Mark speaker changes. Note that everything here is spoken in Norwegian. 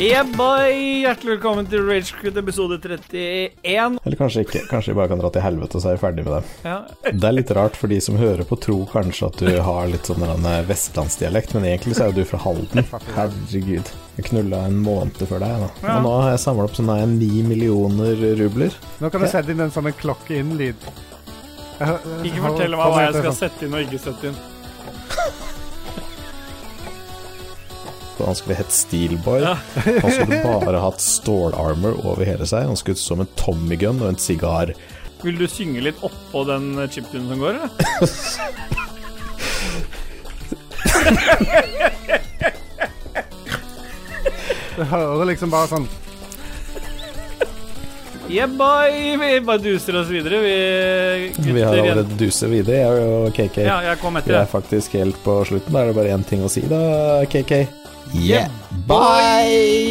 Speaker 1: Yeah, boy! Hjertelig velkommen til Ragequit episode 31.
Speaker 2: Eller kanskje ikke. Kanskje vi bare kan dra til helvete, og så er vi ferdig med det.
Speaker 1: Ja,
Speaker 2: Det er litt rart, for de som hører på, tror kanskje at du har litt sånn en vestlandsdialekt, men egentlig så er jo du fra Halden. Herregud. Jeg knulla en måned før deg, da. Og nå har jeg samla opp sånn nei, ni millioner rubler.
Speaker 3: Nå kan du sette inn en sånn en klokke-inn-lyd.
Speaker 4: Ikke fortell meg hva jeg skal
Speaker 1: sånn-
Speaker 4: sette inn og ikke sette inn.
Speaker 2: Og han skulle hett Steelboy.
Speaker 1: Ja.
Speaker 2: Han skulle bare hatt stålarmor over hele seg. Han skulle ut som en Tommy Gun og en sigar.
Speaker 1: Vil du synge litt oppå den chiptunen som går, eller?
Speaker 3: Du hører liksom bare sånn
Speaker 1: Yeah, boy! Vi bare duser oss videre, vi gutter.
Speaker 2: Vi har
Speaker 1: igjen.
Speaker 2: allerede duset videre, jeg og KK.
Speaker 1: Ja, jeg kom
Speaker 2: Vi
Speaker 1: etter
Speaker 2: er
Speaker 1: deg.
Speaker 2: faktisk helt på slutten. Da er det bare én ting å si, da, KK.
Speaker 1: Yeah,
Speaker 2: bye!